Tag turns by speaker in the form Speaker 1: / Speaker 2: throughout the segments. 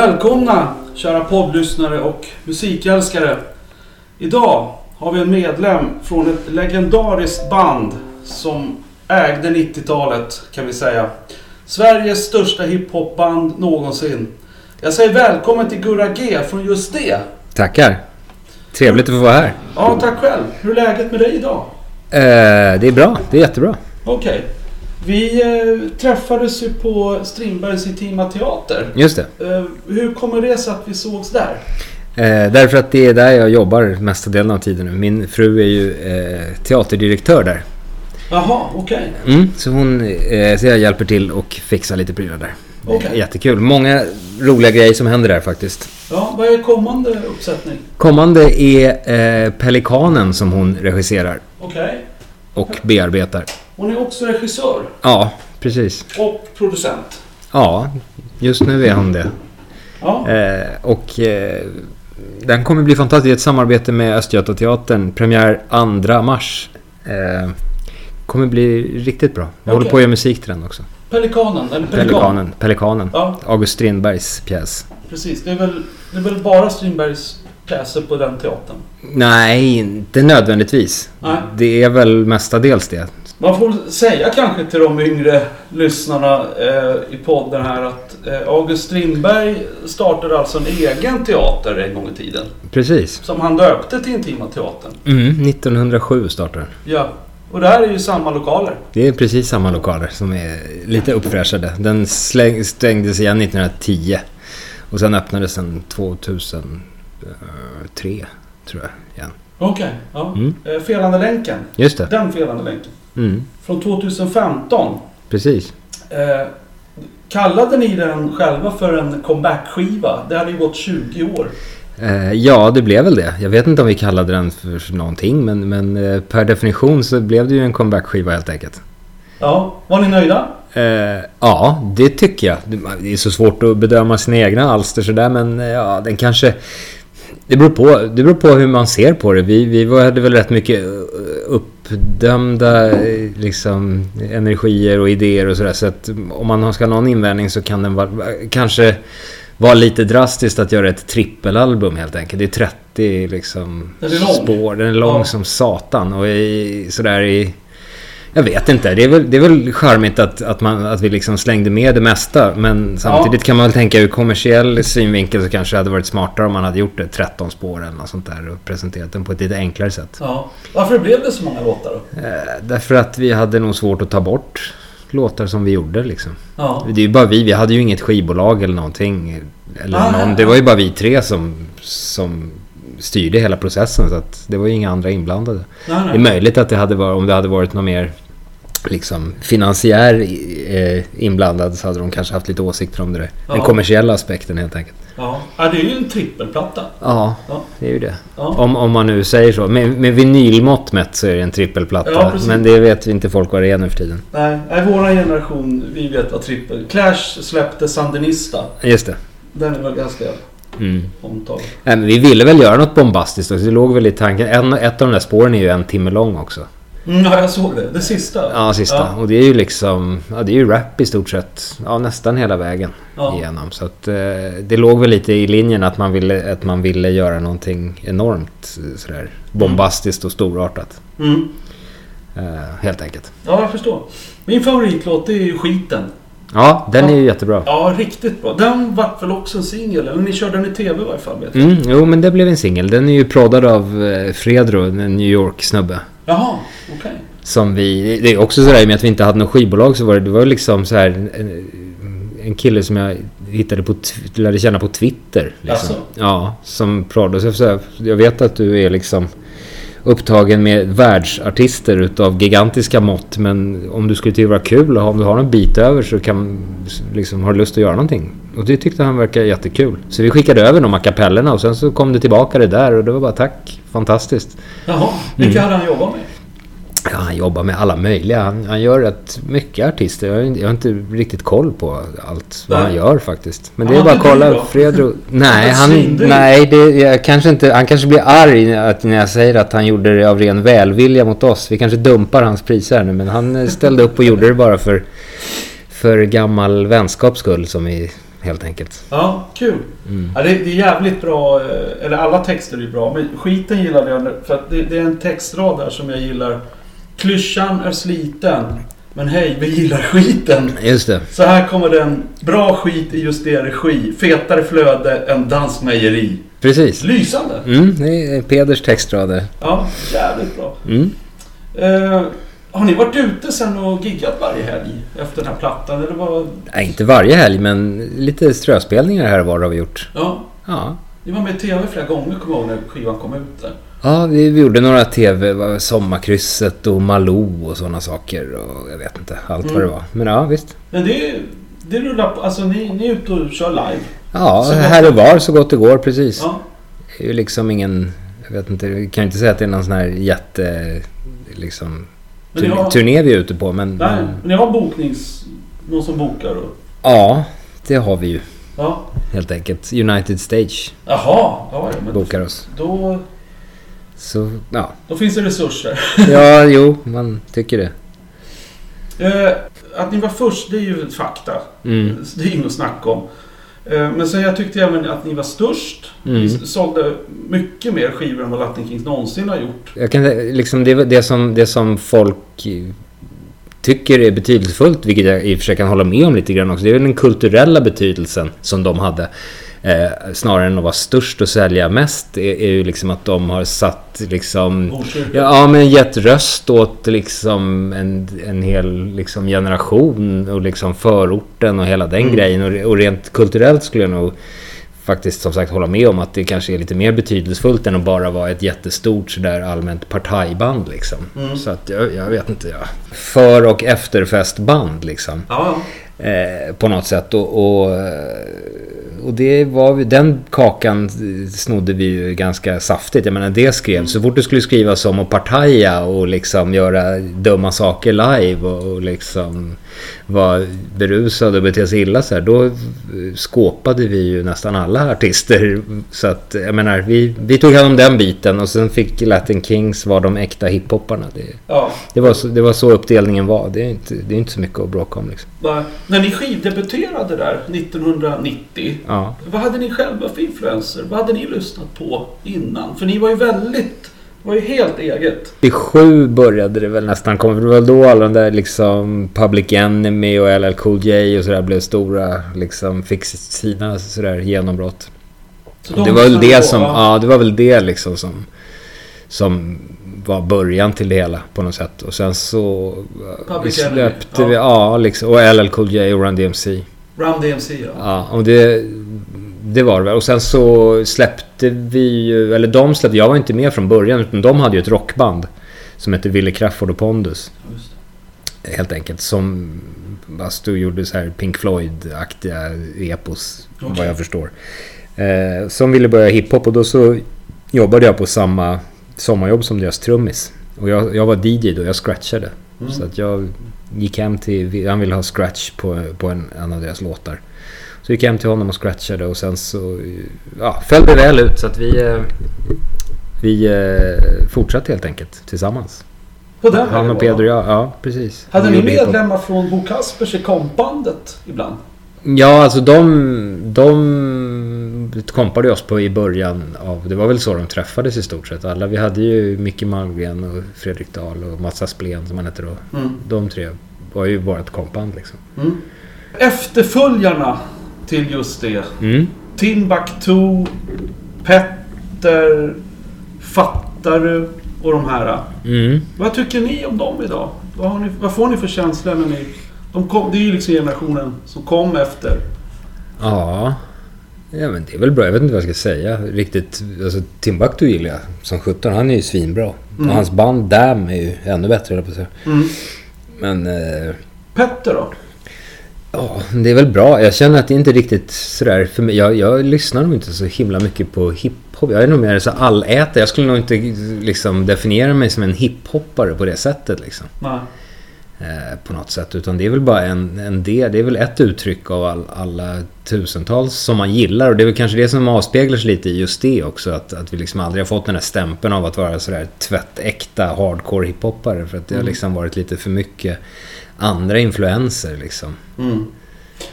Speaker 1: Välkomna kära poddlyssnare och musikälskare. Idag har vi en medlem från ett legendariskt band som ägde 90-talet kan vi säga. Sveriges största hiphopband någonsin. Jag säger välkommen till Gurra G från just det.
Speaker 2: Tackar. Trevligt att få vara här.
Speaker 1: Ja, tack själv. Hur är läget med dig idag?
Speaker 2: Eh, det är bra. Det är jättebra.
Speaker 1: Okej. Vi eh, träffades ju på Strindbergs Intima Teater.
Speaker 2: Just det.
Speaker 1: Eh, hur kommer det sig att vi sågs där?
Speaker 2: Eh, därför att det är där jag jobbar mesta delen av tiden nu. Min fru är ju eh, teaterdirektör där.
Speaker 1: Jaha, okej.
Speaker 2: Mm, så, hon, eh, så jag hjälper till och fixar lite prylar där. Det är
Speaker 1: Okej.
Speaker 2: Jättekul. Många roliga grejer som händer där faktiskt.
Speaker 1: Ja, vad är kommande uppsättning?
Speaker 2: Kommande är eh, Pelikanen som hon regisserar
Speaker 1: Okej.
Speaker 2: och bearbetar.
Speaker 1: Hon är också regissör
Speaker 2: Ja, precis.
Speaker 1: och producent.
Speaker 2: Ja, just nu är hon det.
Speaker 1: Ja,
Speaker 2: Eh, och eh, den kommer bli fantastisk. Det är ett samarbete med Östgötateatern. Premiär 2 mars. Eh, kommer bli riktigt bra. Jag håller
Speaker 1: Okej.
Speaker 2: på att göra musik till den också.
Speaker 1: Pelikanen, eller Pelikan.
Speaker 2: Pelikanen. Pelikanen.
Speaker 1: Ja,
Speaker 2: August Strindbergs pjäs.
Speaker 1: precis. Det är väl, det är väl bara Strindbergs pjäser på den teatern.
Speaker 2: Nej, inte nödvändigtvis.
Speaker 1: Nej.
Speaker 2: Det är väl mestadels det.
Speaker 1: Man får väl säga kanske till de yngre lyssnarna eh, i podden här att eh, August Strindberg startade alltså en egen teater en gång i tiden.
Speaker 2: Precis.
Speaker 1: Som han döpte till Intima Teatern.
Speaker 2: Mm, 1907 startade den.
Speaker 1: Ja. Och det här är ju samma lokaler.
Speaker 2: Det är precis samma lokaler som är lite uppfräschade. Den släng, stängdes igen 1910 och sen öppnades den 2003 tror jag. Igen.
Speaker 1: Okej. ja.
Speaker 2: Mm.
Speaker 1: Eh, felande länken.
Speaker 2: Just det.
Speaker 1: Den felande länken.
Speaker 2: Mm,
Speaker 1: Från 2015
Speaker 2: precis.
Speaker 1: Eh, kallade ni den själva för en comeback-skiva? Det hade ju gått 20 år.
Speaker 2: Eh, ja, det blev väl det. Jag vet inte om vi kallade den för någonting men, men eh, per definition så blev det ju en comeback-skiva helt enkelt.
Speaker 1: Ja, var ni nöjda?
Speaker 2: Eh, ja, det tycker jag. Det- Det är så svårt att bedöma sina egna alster sådär men eh, ja, den kanske... Det beror, på, det beror på hur man ser på det. Vi, vi var- hade väl rätt mycket eh, uppdömda eh, liksom, energier och idéer och sådär. Så att om man ska ha någon invändning så kan den vara, kanske vara lite drastiskt att göra ett trippelalbum helt enkelt. Det är 30 liksom,
Speaker 1: Den är lång.
Speaker 2: spår. Den är lång
Speaker 1: Ja.
Speaker 2: som satan. Och i, sådär i... Jag vet inte. Det är väl, det är väl charmigt att, att, man, att vi liksom slängde med det mesta. Men samtidigt kan man väl tänka ur kommersiell synvinkel så kanske det hade varit smartare om man hade gjort det 13 spår eller något sånt där och presenterat den på ett lite enklare sätt.
Speaker 1: Ja. Varför blev det så många låtar då?
Speaker 2: Eh, därför att vi hade nog svårt att ta bort låtar som vi gjorde liksom.
Speaker 1: Ja.
Speaker 2: Det är ju bara vi. Vi hade ju inget skivbolag eller någonting. Eller
Speaker 1: Ah.
Speaker 2: någon. Det var ju bara vi tre som, som styrde hela processen. Så att det var ju inga andra inblandade. Det
Speaker 1: Nej,
Speaker 2: är
Speaker 1: nej.
Speaker 2: möjligt att det hade varit, om det hade varit någon mer liksom, finansiär eh, inblandad så hade de kanske haft lite åsikter om det där. Den
Speaker 1: Ja.
Speaker 2: kommersiella aspekten helt enkelt.
Speaker 1: Ja. ja, det är ju en trippelplatta.
Speaker 2: Ja,
Speaker 1: Ja.
Speaker 2: det är ju det.
Speaker 1: Ja.
Speaker 2: Om, om man nu säger så. Med, med vinylmått mätt så är det en trippelplatta.
Speaker 1: Ja, precis.
Speaker 2: men det vet vi inte folk vad det är nu för tiden.
Speaker 1: Nej, nej, våra generation, vi vet vad trippel... Clash släppte Sandinista.
Speaker 2: Just det.
Speaker 1: Den är väl ganska
Speaker 2: Mm.
Speaker 1: omtalad.
Speaker 2: Nej, men vi ville väl göra något bombastiskt också. Det låg väl i tanken. En, ett av de där spåren är ju en timme lång också.
Speaker 1: Mm, ja, jag såg det. Det sista.
Speaker 2: Ja, sista.
Speaker 1: Ja.
Speaker 2: Och det är ju liksom... Ja, det är ju rap i stort sett. Ja, nästan hela vägen.
Speaker 1: Ja.
Speaker 2: igenom. Så att, eh, det låg väl lite i linjen att man ville, att man ville göra någonting enormt eh, sådär, bombastiskt och storartat.
Speaker 1: Mm.
Speaker 2: Eh, helt enkelt.
Speaker 1: ja, jag förstår. Min favoritlåt det är ju Skiten.
Speaker 2: Ja, den
Speaker 1: Ja.
Speaker 2: är ju jättebra.
Speaker 1: Ja, riktigt bra. Den vart väl också en singel? eller Ni körde den i TV i varje fall vet jag.
Speaker 2: Mm, jo, men det blev en singel. Den är ju proddad av eh, Fredro, en New York-snubbe.
Speaker 1: Jaha, okej.
Speaker 2: Som vi... Det är också sådär, i och med att vi inte hade något skivbolag så var det, det var ju liksom så här en, en kille som jag hittade på... tw- Lärde känna på Twitter. Liksom.
Speaker 1: Jaså?
Speaker 2: Ja, som proddade. Så jag sa, Jag vet att du är liksom upptagen med världsartister utav gigantiska mått. Men om du skulle tycka det var kul och om du har en bit över så kan... Liksom, har du lust att göra någonting? Och det tyckte han verkade jättekul. Så vi skickade över de här kapellerna och sen så kom det tillbaka det där och det var bara tack. Fantastiskt.
Speaker 1: Jaha,
Speaker 2: Mm.
Speaker 1: vilka hade han jobbat med?
Speaker 2: Ja, han jobbar med alla möjliga. Han, han gör rätt mycket artister. Jag har, inte- jag har inte riktigt koll på allt vad
Speaker 1: Nej.
Speaker 2: han gör faktiskt. Men det
Speaker 1: Ja,
Speaker 2: är bara att
Speaker 1: det är du
Speaker 2: kolla.
Speaker 1: då.
Speaker 2: Fredro... Nej, han,
Speaker 1: Svindyr.
Speaker 2: nej det, jag kanske inte, han kanske blir arg när- att, när jag säger att han gjorde det av ren välvilja mot oss. Vi kanske dumpar hans priser här nu, men han eh, ställde upp och gjorde det bara för, för gammal vänskaps skull som vi helt enkelt.
Speaker 1: Ja, kul.
Speaker 2: Mm.
Speaker 1: Ja, det, det är jävligt bra, eh, eller alla texter är ju bra, men skiten gillade jag nu, för att det, det är en textrad där som jag gillar. Klyschan är sliten, men hej, vi gillar skiten.
Speaker 2: Just det.
Speaker 1: Så här kommer den. Bra skit i just er regi. Fetare flöde än dansmejeri.
Speaker 2: Precis.
Speaker 1: Lysande!
Speaker 2: Mm, det är Peders textrader.
Speaker 1: Ja, jävligt bra.
Speaker 2: Mm.
Speaker 1: Eh, har ni varit ute sen och giggat varje helg efter den här plattan? Eller vad?
Speaker 2: Nej, inte varje helg, men lite ströspelningar här och var har vi gjort.
Speaker 1: Ja,
Speaker 2: Ja,
Speaker 1: ni var med i TV flera gånger kommer jag ihåg när skivan kom ut där.
Speaker 2: ja vi, vi gjorde några TV, vad- Sommarkrysset och Malou och sådana saker. Och jag vet inte, allt vad
Speaker 1: Mm.
Speaker 2: det var. Men ja, visst.
Speaker 1: Men det, det rullar på. Alltså ni, ni är ute och kör live.
Speaker 2: Ja,
Speaker 1: Så gott
Speaker 2: här och var så gott det går, precis.
Speaker 1: Ja.
Speaker 2: Det är ju liksom ingen... Jag vet inte, vi kan ju inte säga att det är någon sån här jätte... Liksom,
Speaker 1: Men ni
Speaker 2: turné,
Speaker 1: har,
Speaker 2: turné vi är ute på, men...
Speaker 1: nej, men ni har boknings... Någon som bokar och...
Speaker 2: Ja, det har vi ju
Speaker 1: Ja.
Speaker 2: helt enkelt. United Stage
Speaker 1: Jaha, ja, ja, men
Speaker 2: bokar oss.
Speaker 1: då,
Speaker 2: Så, ja.
Speaker 1: då finns det resurser.
Speaker 2: Ja, jo, man tycker det.
Speaker 1: Eh, att ni var först, det är ju fakta.
Speaker 2: Mm.
Speaker 1: Det är inget att snacka om. Eh, men sen jag tyckte även att ni var störst.
Speaker 2: Mm.
Speaker 1: Ni sålde mycket mer skivor än vad Latin Kings någonsin har gjort.
Speaker 2: Jag kan, liksom, det, är väl det, som, det som folk tycker är betydelsefullt, vilket jag i och för sig kan hålla med om lite grann också, det är väl den kulturella betydelsen som de hade. Eh, snarare än att vara störst och sälja mest, är, är ju liksom att de har satt liksom...
Speaker 1: Botkyrka.
Speaker 2: Ja, ja, men gett röst åt liksom en, en hel liksom generation och liksom förorten och hela den
Speaker 1: Mm.
Speaker 2: grejen. Och, re- och rent kulturellt skulle jag nog faktiskt som sagt hålla med om att det kanske är lite mer betydelsefullt än att bara vara ett jättestort sådär allmänt partajband liksom.
Speaker 1: Mm.
Speaker 2: Så att jag, jag vet inte. Ja. För och efterfestband liksom
Speaker 1: Ja,
Speaker 2: eh, på något sätt. Och, och, och det var, vi- den kakan snodde vi ju ganska saftigt. Jag menar det skrevs. Så fort det skulle skrivas om att partaja och liksom göra dumma saker live och, och liksom vara berusad och bete sig illa så här. Då eh, skåpade vi ju nästan alla artister. Så att jag menar vi, vi tog hand om den biten och sen fick Latin Kings vara de äkta hiphopparna. Det,
Speaker 1: ja.
Speaker 2: det, var så, det var så uppdelningen var. Det är inte, det är inte så mycket att bråka om liksom.
Speaker 1: Va- När ni skivdebuterade där 1990.
Speaker 2: Ja.
Speaker 1: Vad hade ni själva för influenser? Vad hade ni lyssnat på innan? För ni var ju väldigt... Det var ju helt eget.
Speaker 2: 97 började det väl nästan komma. för Det var då alla de där liksom Public Enemy och LL Cool J och sådär blev stora. Liksom fick sina sådär genombrott.
Speaker 1: Så de
Speaker 2: Det var väl
Speaker 1: lyssnade
Speaker 2: det
Speaker 1: på,
Speaker 2: som,
Speaker 1: va?
Speaker 2: ja det var väl det liksom som, som var början till det hela på något sätt. Och sen så eh,
Speaker 1: Public Enemy,
Speaker 2: släppte
Speaker 1: ja.
Speaker 2: vi, ja liksom, och LL Cool J och Run DMC.
Speaker 1: Run DMC ja.
Speaker 2: Ja, och det, det var det väl. Och sen så släppte vi ju, eller de släppte, jag var inte med från början utan de hade ju ett rockband som hette Ville Crafoord och Pondus.
Speaker 1: Just det.
Speaker 2: Helt enkelt som alltså, gjorde så här Pink Floyd-aktiga epos
Speaker 1: Okej.
Speaker 2: vad jag förstår. Eh, som ville börja hiphop och då så jobbade jag på samma sommarjobb som deras trummis. Och jag, jag var DJ då, jag scratchade.
Speaker 1: Mm.
Speaker 2: Så att jag gick hem till... Han ville ha scratch på, på en, en av deras låtar. Så gick jag hem till honom och scratchade och sen så... Ja, föll det väl ut så att vi... eh, Vi eh, fortsatte helt enkelt tillsammans.
Speaker 1: På den
Speaker 2: Han
Speaker 1: vägen var
Speaker 2: och
Speaker 1: det.
Speaker 2: Peder och jag, ja precis.
Speaker 1: Hade ni
Speaker 2: gjorde hiphop.
Speaker 1: medlemmar från Bo Kaspers i kompbandet ibland?
Speaker 2: Ja, alltså de... De kompade oss på i början av... Det var väl så de träffades i stort sett. Alla, vi hade ju Micke Malmgren och Fredrik Dahl och Mats Asplén som han hette då.
Speaker 1: Mm.
Speaker 2: De tre var ju vårt kompband liksom.
Speaker 1: Mm. Efterföljarna till just det.
Speaker 2: Mm.
Speaker 1: Timbuktu, Petter, Fattaru och de här.
Speaker 2: Mm.
Speaker 1: Vad tycker ni om dem idag? Vad, har ni, vad får ni för känsla när ni... De kom, det är ju liksom generationen som kom efter.
Speaker 2: Ja. Ja men det är väl bra. Jag vet inte vad jag ska säga riktigt. Alltså Timbuktu gillar jag som 17. Han är ju svinbra.
Speaker 1: Mm.
Speaker 2: Och hans band Damn är ju ännu bättre höll jag på att säga.
Speaker 1: Mm.
Speaker 2: Men... Eh,
Speaker 1: Petter då?
Speaker 2: ja, det är väl bra. Jag känner att det inte riktigt sådär för mig. Jag, jag lyssnar nog inte så himla mycket på hiphop. Jag är nog mer så allätare. Jag skulle nog inte liksom definiera mig som en hiphoppare på det sättet liksom.
Speaker 1: Nej.
Speaker 2: eh, på något sätt. Utan det är väl bara en, en del, det är väl ett uttryck av all, alla tusentals som man gillar. Och det är väl kanske det som avspeglar sig lite i just det också. Att, att vi liksom aldrig har fått den här stämpeln av att vara sådär tvättäkta hardcore hiphoppare. För att det har
Speaker 1: Mm.
Speaker 2: liksom varit lite för mycket andra influenser liksom.
Speaker 1: Mm.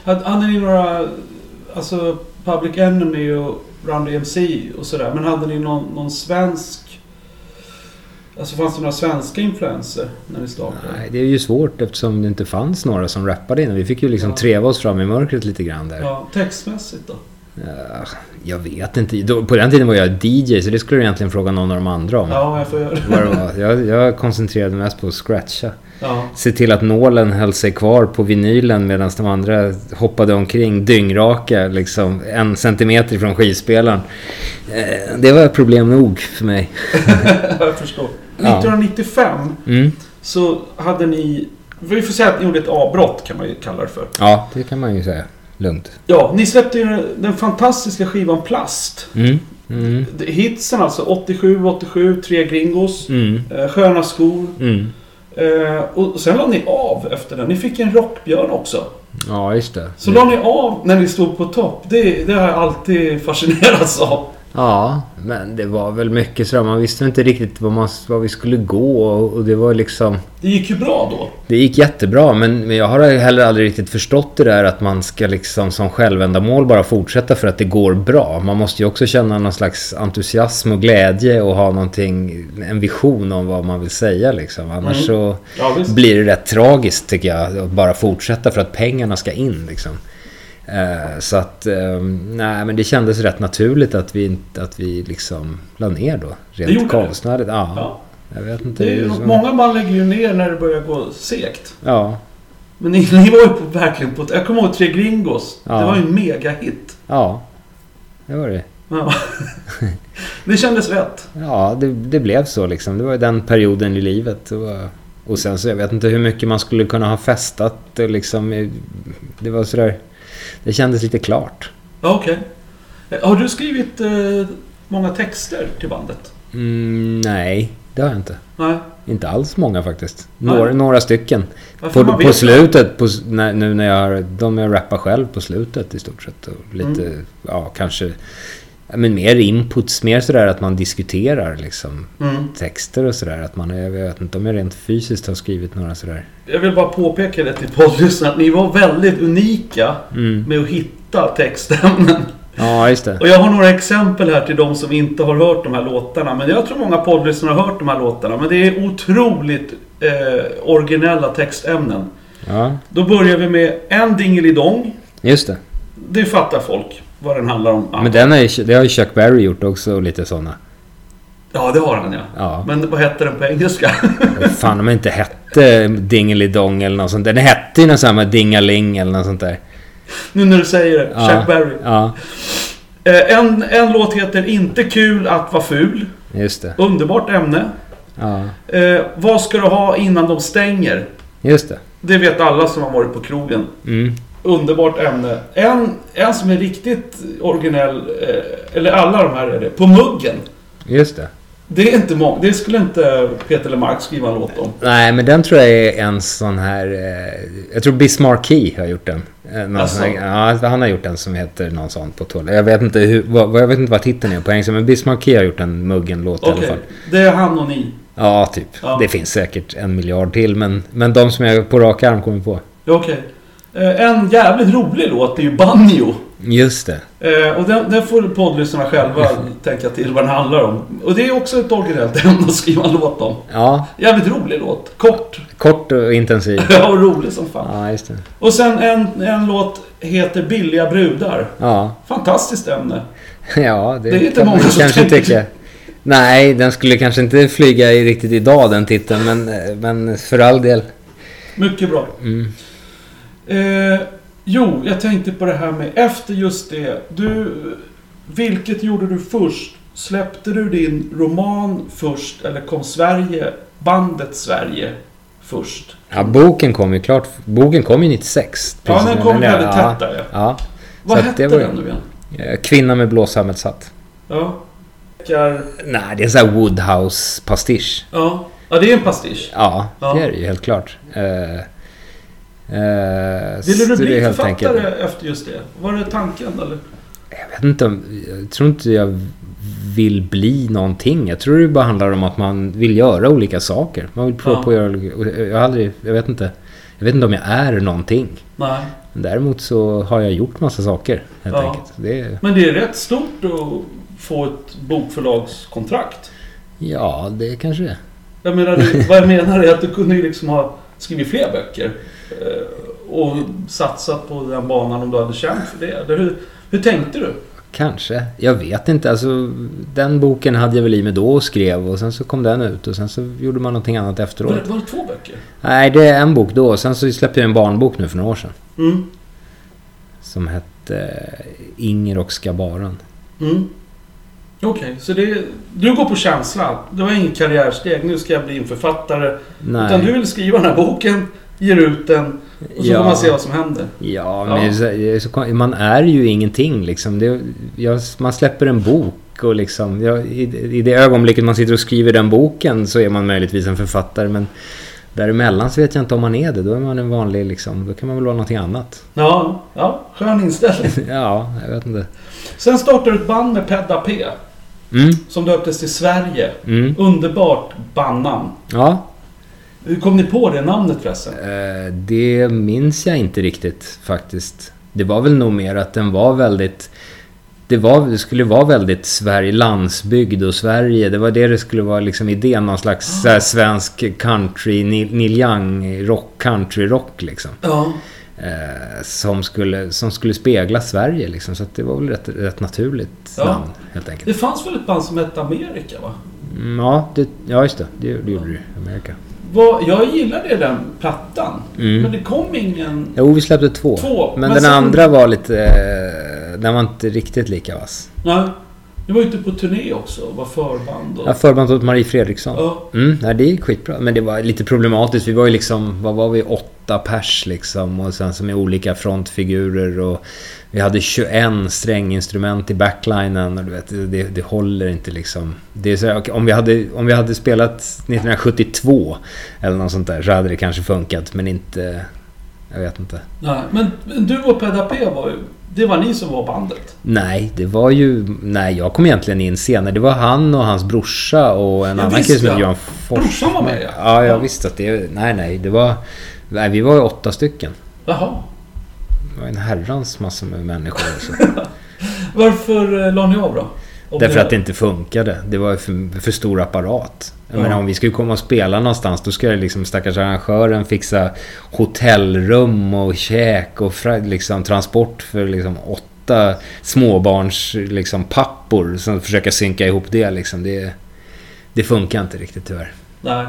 Speaker 1: Hade, hade ni några alltså Public Enemy och Run DMC och sådär. Men hade ni någon, någon svensk... Alltså fanns det några svenska influenser när ni startade?
Speaker 2: Nej, det är ju svårt eftersom det inte fanns några som rappade innan. Vi fick ju liksom
Speaker 1: Ja.
Speaker 2: treva oss fram i mörkret lite grann där.
Speaker 1: Ja, textmässigt då?
Speaker 2: Eh, Jag vet inte. Då, på den tiden var jag DJ så det skulle du egentligen fråga någon av de andra om.
Speaker 1: Ja, jag får göra det.
Speaker 2: Vad det var. Jag, jag koncentrerade mest på att scratcha.
Speaker 1: Ja.
Speaker 2: Se till att nålen höll sig kvar på vinylen medan de andra hoppade omkring dyngraka liksom en centimeter från skivspelaren. Eh, Det var problem nog för mig.
Speaker 1: jag förstår.
Speaker 2: Ja.
Speaker 1: 1995
Speaker 2: Mm.
Speaker 1: så hade ni... Vi får säga att ni gjorde ett avbrott kan man ju kalla det för.
Speaker 2: Ja, det kan man ju säga. Lugnt.
Speaker 1: Ja, ni släppte ju den fantastiska skivan Plast.
Speaker 2: Mm. Mm.
Speaker 1: Hitsen alltså, 87, 87, Tre Gringos,
Speaker 2: Mm.
Speaker 1: eh, Sköna Skor.
Speaker 2: Mm.
Speaker 1: Eh, och sen la ni av efter den. Ni fick en rockbjörn också.
Speaker 2: Ja, just det.
Speaker 1: Så la ni av när ni stod på topp. Det, det har jag alltid fascinerats av.
Speaker 2: Ja, men det var väl mycket sådär. Man visste inte riktigt var, man, var vi skulle gå och, och det var liksom...
Speaker 1: Det gick ju bra då.
Speaker 2: Det gick jättebra, men, men jag har heller aldrig riktigt förstått det där att man ska liksom som självändamål bara fortsätta för att det går bra. Man måste ju också känna någon slags entusiasm och glädje och ha någonting, en vision om vad man vill säga liksom.
Speaker 1: Mm.
Speaker 2: Annars så
Speaker 1: Ja, visst.
Speaker 2: blir det rätt tragiskt tycker jag att bara fortsätta för att pengarna ska in liksom. Eh, Så att, eh, nej men det kändes rätt naturligt att vi, inte- att vi liksom la ner då.
Speaker 1: gjorde
Speaker 2: Rent
Speaker 1: det?
Speaker 2: konstnärligt. Ja,
Speaker 1: Ja.
Speaker 2: jag vet inte.
Speaker 1: Det är,
Speaker 2: hur-
Speaker 1: ju- många man lägger ju ner när det börjar gå segt.
Speaker 2: Ja,
Speaker 1: Men ni, ni var ju på, verkligen på... ett- Jag kommer ihåg Tre Gringos.
Speaker 2: Ja.
Speaker 1: Det var ju en megahit.
Speaker 2: ja. Det var det.
Speaker 1: Ja. det kändes rätt.
Speaker 2: Ja, det, det blev så liksom. Det var ju den perioden i livet. Det var- Och sen så, jag vet inte hur mycket man skulle kunna ha festat och liksom. eh, Det var sådär... Det kändes lite klart.
Speaker 1: Ja, okej. Eh, Har du skrivit eh, många texter till bandet?
Speaker 2: Mm, nej, det har jag inte.
Speaker 1: Nej.
Speaker 2: Inte alls många faktiskt. Några,
Speaker 1: Nej.
Speaker 2: några stycken.
Speaker 1: Varför
Speaker 2: På,
Speaker 1: man
Speaker 2: på
Speaker 1: vet-
Speaker 2: slutet, på, s- när, nu när jag har, de jag rappar själv på slutet i stort sett. Och lite,
Speaker 1: Mm.
Speaker 2: ja kanske, ja, men mer inputs, mer sådär att man diskuterar liksom
Speaker 1: Mm.
Speaker 2: texter och sådär. Att man, jag vet inte om jag rent fysiskt har skrivit några sådär.
Speaker 1: Jag vill bara påpeka det till poddlyssnarna att ni var väldigt unika
Speaker 2: Mm.
Speaker 1: med att hitta textämnen.
Speaker 2: Ja, just det.
Speaker 1: Och jag har några exempel här till de som inte har hört de här låtarna. Men jag tror många poddlyssnare har hört de här låtarna. Men det är otroligt eh, originella textämnen.
Speaker 2: Ja,
Speaker 1: Då börjar vi med En Dingelidong.
Speaker 2: just det.
Speaker 1: Det fattar folk vad den handlar om. Ja,
Speaker 2: Men den har ju, det har ju Chuck Berry gjort också och lite sådana.
Speaker 1: ja det har han ja.
Speaker 2: Ja.
Speaker 1: Men vad heter den på engelska?
Speaker 2: Vad Fan om den inte hette Dingelidong eller något sånt. Den hette ju något sånt här med Dingaling eller något sånt där.
Speaker 1: nu när du säger det.
Speaker 2: Ja.
Speaker 1: Chuck Berry.
Speaker 2: Ja,
Speaker 1: Eh, en, en låt heter Inte kul att vara ful.
Speaker 2: just det.
Speaker 1: Underbart ämne.
Speaker 2: Ja,
Speaker 1: Eh, vad ska du ha innan de stänger?
Speaker 2: just det.
Speaker 1: Det vet alla som har varit på krogen.
Speaker 2: Mm.
Speaker 1: Underbart ämne. En, en som är riktigt originell, eh, eller alla de här är det, På muggen.
Speaker 2: Just det.
Speaker 1: Det är inte många, det skulle inte Peter Lemark skriva en låt om.
Speaker 2: Nej, men den tror jag är en sån här... Eh, jag tror Bismarcky har gjort den. Eh, Någon
Speaker 1: Asså?
Speaker 2: sån här, ja, han har gjort en som heter någon sån på tull. Jag vet inte, hur, vad, vad- jag vet inte vad titeln är på engelska, men Bismarcky har gjort en muggen-låt i
Speaker 1: Okej,
Speaker 2: alla fall.
Speaker 1: det är han och ni.
Speaker 2: Ja, typ.
Speaker 1: Ja.
Speaker 2: Det finns säkert en miljard till, men, men de som jag på rak arm kommer på.
Speaker 1: Ja, Okej. Eh, en jävligt rolig låt är ju Banjo.
Speaker 2: Just det.
Speaker 1: Eh, och den, den får poddlyssnarna själva tänka till vad den handlar om. Och det är också ett originellt ämne att skriva en låt om.
Speaker 2: Ja,
Speaker 1: Jävligt rolig låt. Kort.
Speaker 2: kort och intensiv.
Speaker 1: Ja, och rolig som fan.
Speaker 2: Ja, just det.
Speaker 1: Och sen en, en låt heter Billiga brudar.
Speaker 2: Ja,
Speaker 1: Fantastiskt ämne.
Speaker 2: ja det,
Speaker 1: Det är inte
Speaker 2: kan man
Speaker 1: många som
Speaker 2: kanske
Speaker 1: tänker.
Speaker 2: tycka. Nej, den skulle kanske inte flyga i riktigt idag den titeln, men, eh, men för all del.
Speaker 1: Mycket bra.
Speaker 2: Mm.
Speaker 1: Eh, jo, jag tänkte på det här med efter just det. Du, vilket gjorde du först? Släppte du din roman först eller kom Sverige, bandet Sverige först?
Speaker 2: Ja, boken kom ju klart. Boken kom ju 96.
Speaker 1: Ja,
Speaker 2: precis
Speaker 1: den
Speaker 2: när
Speaker 1: kom
Speaker 2: blev-
Speaker 1: väldigt
Speaker 2: ja,
Speaker 1: tätt där ja.
Speaker 2: Ja.
Speaker 1: Vad
Speaker 2: att det
Speaker 1: hette
Speaker 2: var ju-
Speaker 1: den nu igen?
Speaker 2: Eh, Kvinna med blå sammetshatt.
Speaker 1: Ja. Kar-
Speaker 2: Nej, det är en sån här Woodhouse-pastisch.
Speaker 1: ja. Ja, det är en pastisch.
Speaker 2: Ja,
Speaker 1: Ja.
Speaker 2: det är det ju helt klart. Eh, eh,
Speaker 1: Ville
Speaker 2: så
Speaker 1: du
Speaker 2: det är
Speaker 1: bli
Speaker 2: helt
Speaker 1: författare
Speaker 2: enkelt-
Speaker 1: efter just det? Var det tanken eller?
Speaker 2: Jag vet inte om... Jag tror inte jag vill bli någonting. Jag tror det bara handlar om att man vill göra olika saker. Man vill prova
Speaker 1: Ja.
Speaker 2: på att göra... olika- Jag har aldrig... Jag vet inte. Jag vet inte om jag är någonting.
Speaker 1: Nej.
Speaker 2: Men Däremot så har jag gjort massa saker helt
Speaker 1: Ja.
Speaker 2: enkelt. Det,
Speaker 1: Men det är rätt stort att få ett bokförlagskontrakt.
Speaker 2: ja, det kanske det är.
Speaker 1: Jag menar, du- vad jag menar är att du kunde ju liksom ha skrivit fler böcker. eh, Och satsat på den banan om du hade känt för det. Eller hur, hur tänkte du?
Speaker 2: Kanske. Jag vet inte. Alltså, den boken hade jag väl i mig då och skrev och sen så kom den ut och sen så gjorde man någonting annat efteråt.
Speaker 1: Var det, var det två böcker?
Speaker 2: Nej, det är en bok då. Sen så släppte jag en barnbok nu för några år sedan.
Speaker 1: Mm.
Speaker 2: Som hette eh, Inger och Skabaran.
Speaker 1: Mm. Okej, så det, du går på känslan. Det var ingen karriärsteg. Nu ska jag bli en författare.
Speaker 2: Nej.
Speaker 1: Utan du vill skriva den här boken, ger ut den och så
Speaker 2: ja.
Speaker 1: får man se vad som händer.
Speaker 2: Ja,
Speaker 1: Ja.
Speaker 2: men det är så- det är så kon- man är ju ingenting liksom. Det, jag, man släpper en bok och liksom... Jag, i, I det ögonblicket man sitter och skriver den boken så är man möjligtvis en författare men däremellan så vet jag inte om man är det. Då är man en vanlig liksom... Då kan man väl vara någonting annat.
Speaker 1: Ja, ja skön inställning.
Speaker 2: ja, jag vet inte.
Speaker 1: Sen startade du ett band med Pedda P.
Speaker 2: Mm,
Speaker 1: Som döptes till Sverige.
Speaker 2: mm.
Speaker 1: Underbart bandnamn.
Speaker 2: Ja,
Speaker 1: Hur kom ni på det namnet förresten?
Speaker 2: Eh, Det minns jag inte riktigt faktiskt. Det var väl nog mer att den var väldigt... Det, var, det skulle vara väldigt Sverige, landsbygd och Sverige. Det var det det skulle vara liksom idén. Någon slags så här, svensk country, Neil Neil Young rock, country rock liksom.
Speaker 1: Ja.
Speaker 2: Eh, som, skulle, som skulle spegla Sverige liksom. Så att det var väl rätt, rätt naturligt
Speaker 1: Ja.
Speaker 2: namn helt enkelt.
Speaker 1: Det fanns väl ett band som hette Amerika va?
Speaker 2: Mm, ja, det, ja, just det. Det, det gjorde du i Amerika.
Speaker 1: Vad- Jag gillade den plattan.
Speaker 2: Mm.
Speaker 1: Men det kom ingen...
Speaker 2: Jo, vi släppte två.
Speaker 1: Två,
Speaker 2: Men,
Speaker 1: men
Speaker 2: den
Speaker 1: sen-
Speaker 2: andra var lite... eh, Den var inte riktigt lika vass.
Speaker 1: Nej. Ni var ute på turné också och var förband och...
Speaker 2: Jag förband åt Marie Fredriksson.
Speaker 1: Ja.
Speaker 2: Mm, nej, det gick skitbra. Men det var lite problematiskt. Vi var ju liksom... Vad var vi? Åtta pers liksom. Och sen som är olika frontfigurer och... Vi hade 21 stränginstrument i backlinen och du vet, det, det håller inte liksom. Det är så här, okej, om, vi hade, om vi hade spelat 1972 eller något sånt där så hade det kanske funkat men inte... Jag vet inte.
Speaker 1: Nej. Men men du och Pedda P var ju... Det var ni som var bandet.
Speaker 2: Nej, det var ju... Nej, jag kom egentligen in senare. Det var han och hans brorsa och en
Speaker 1: Ja,
Speaker 2: annan
Speaker 1: visst,
Speaker 2: kille som hette
Speaker 1: ja.
Speaker 2: Johan Fors.
Speaker 1: Brorsan var med ja.
Speaker 2: Ja, jag visste att det... Nej, nej, det var... Nej, vi var ju åtta stycken.
Speaker 1: Jaha.
Speaker 2: Det var en herrans massa med människor. Så.
Speaker 1: Varför eh, la ni av då? Om
Speaker 2: Därför
Speaker 1: ni-
Speaker 2: att det inte funkade. Det var ju för, för stor apparat. Jag
Speaker 1: Ja.
Speaker 2: menar, om vi skulle komma och spela någonstans då skulle liksom stackars arrangören fixa hotellrum och käk och fra, liksom, transport för liksom, åtta småbarns liksom, pappor. Sen försöka synka ihop det liksom. Det, det funkar inte riktigt tyvärr.
Speaker 1: Nej.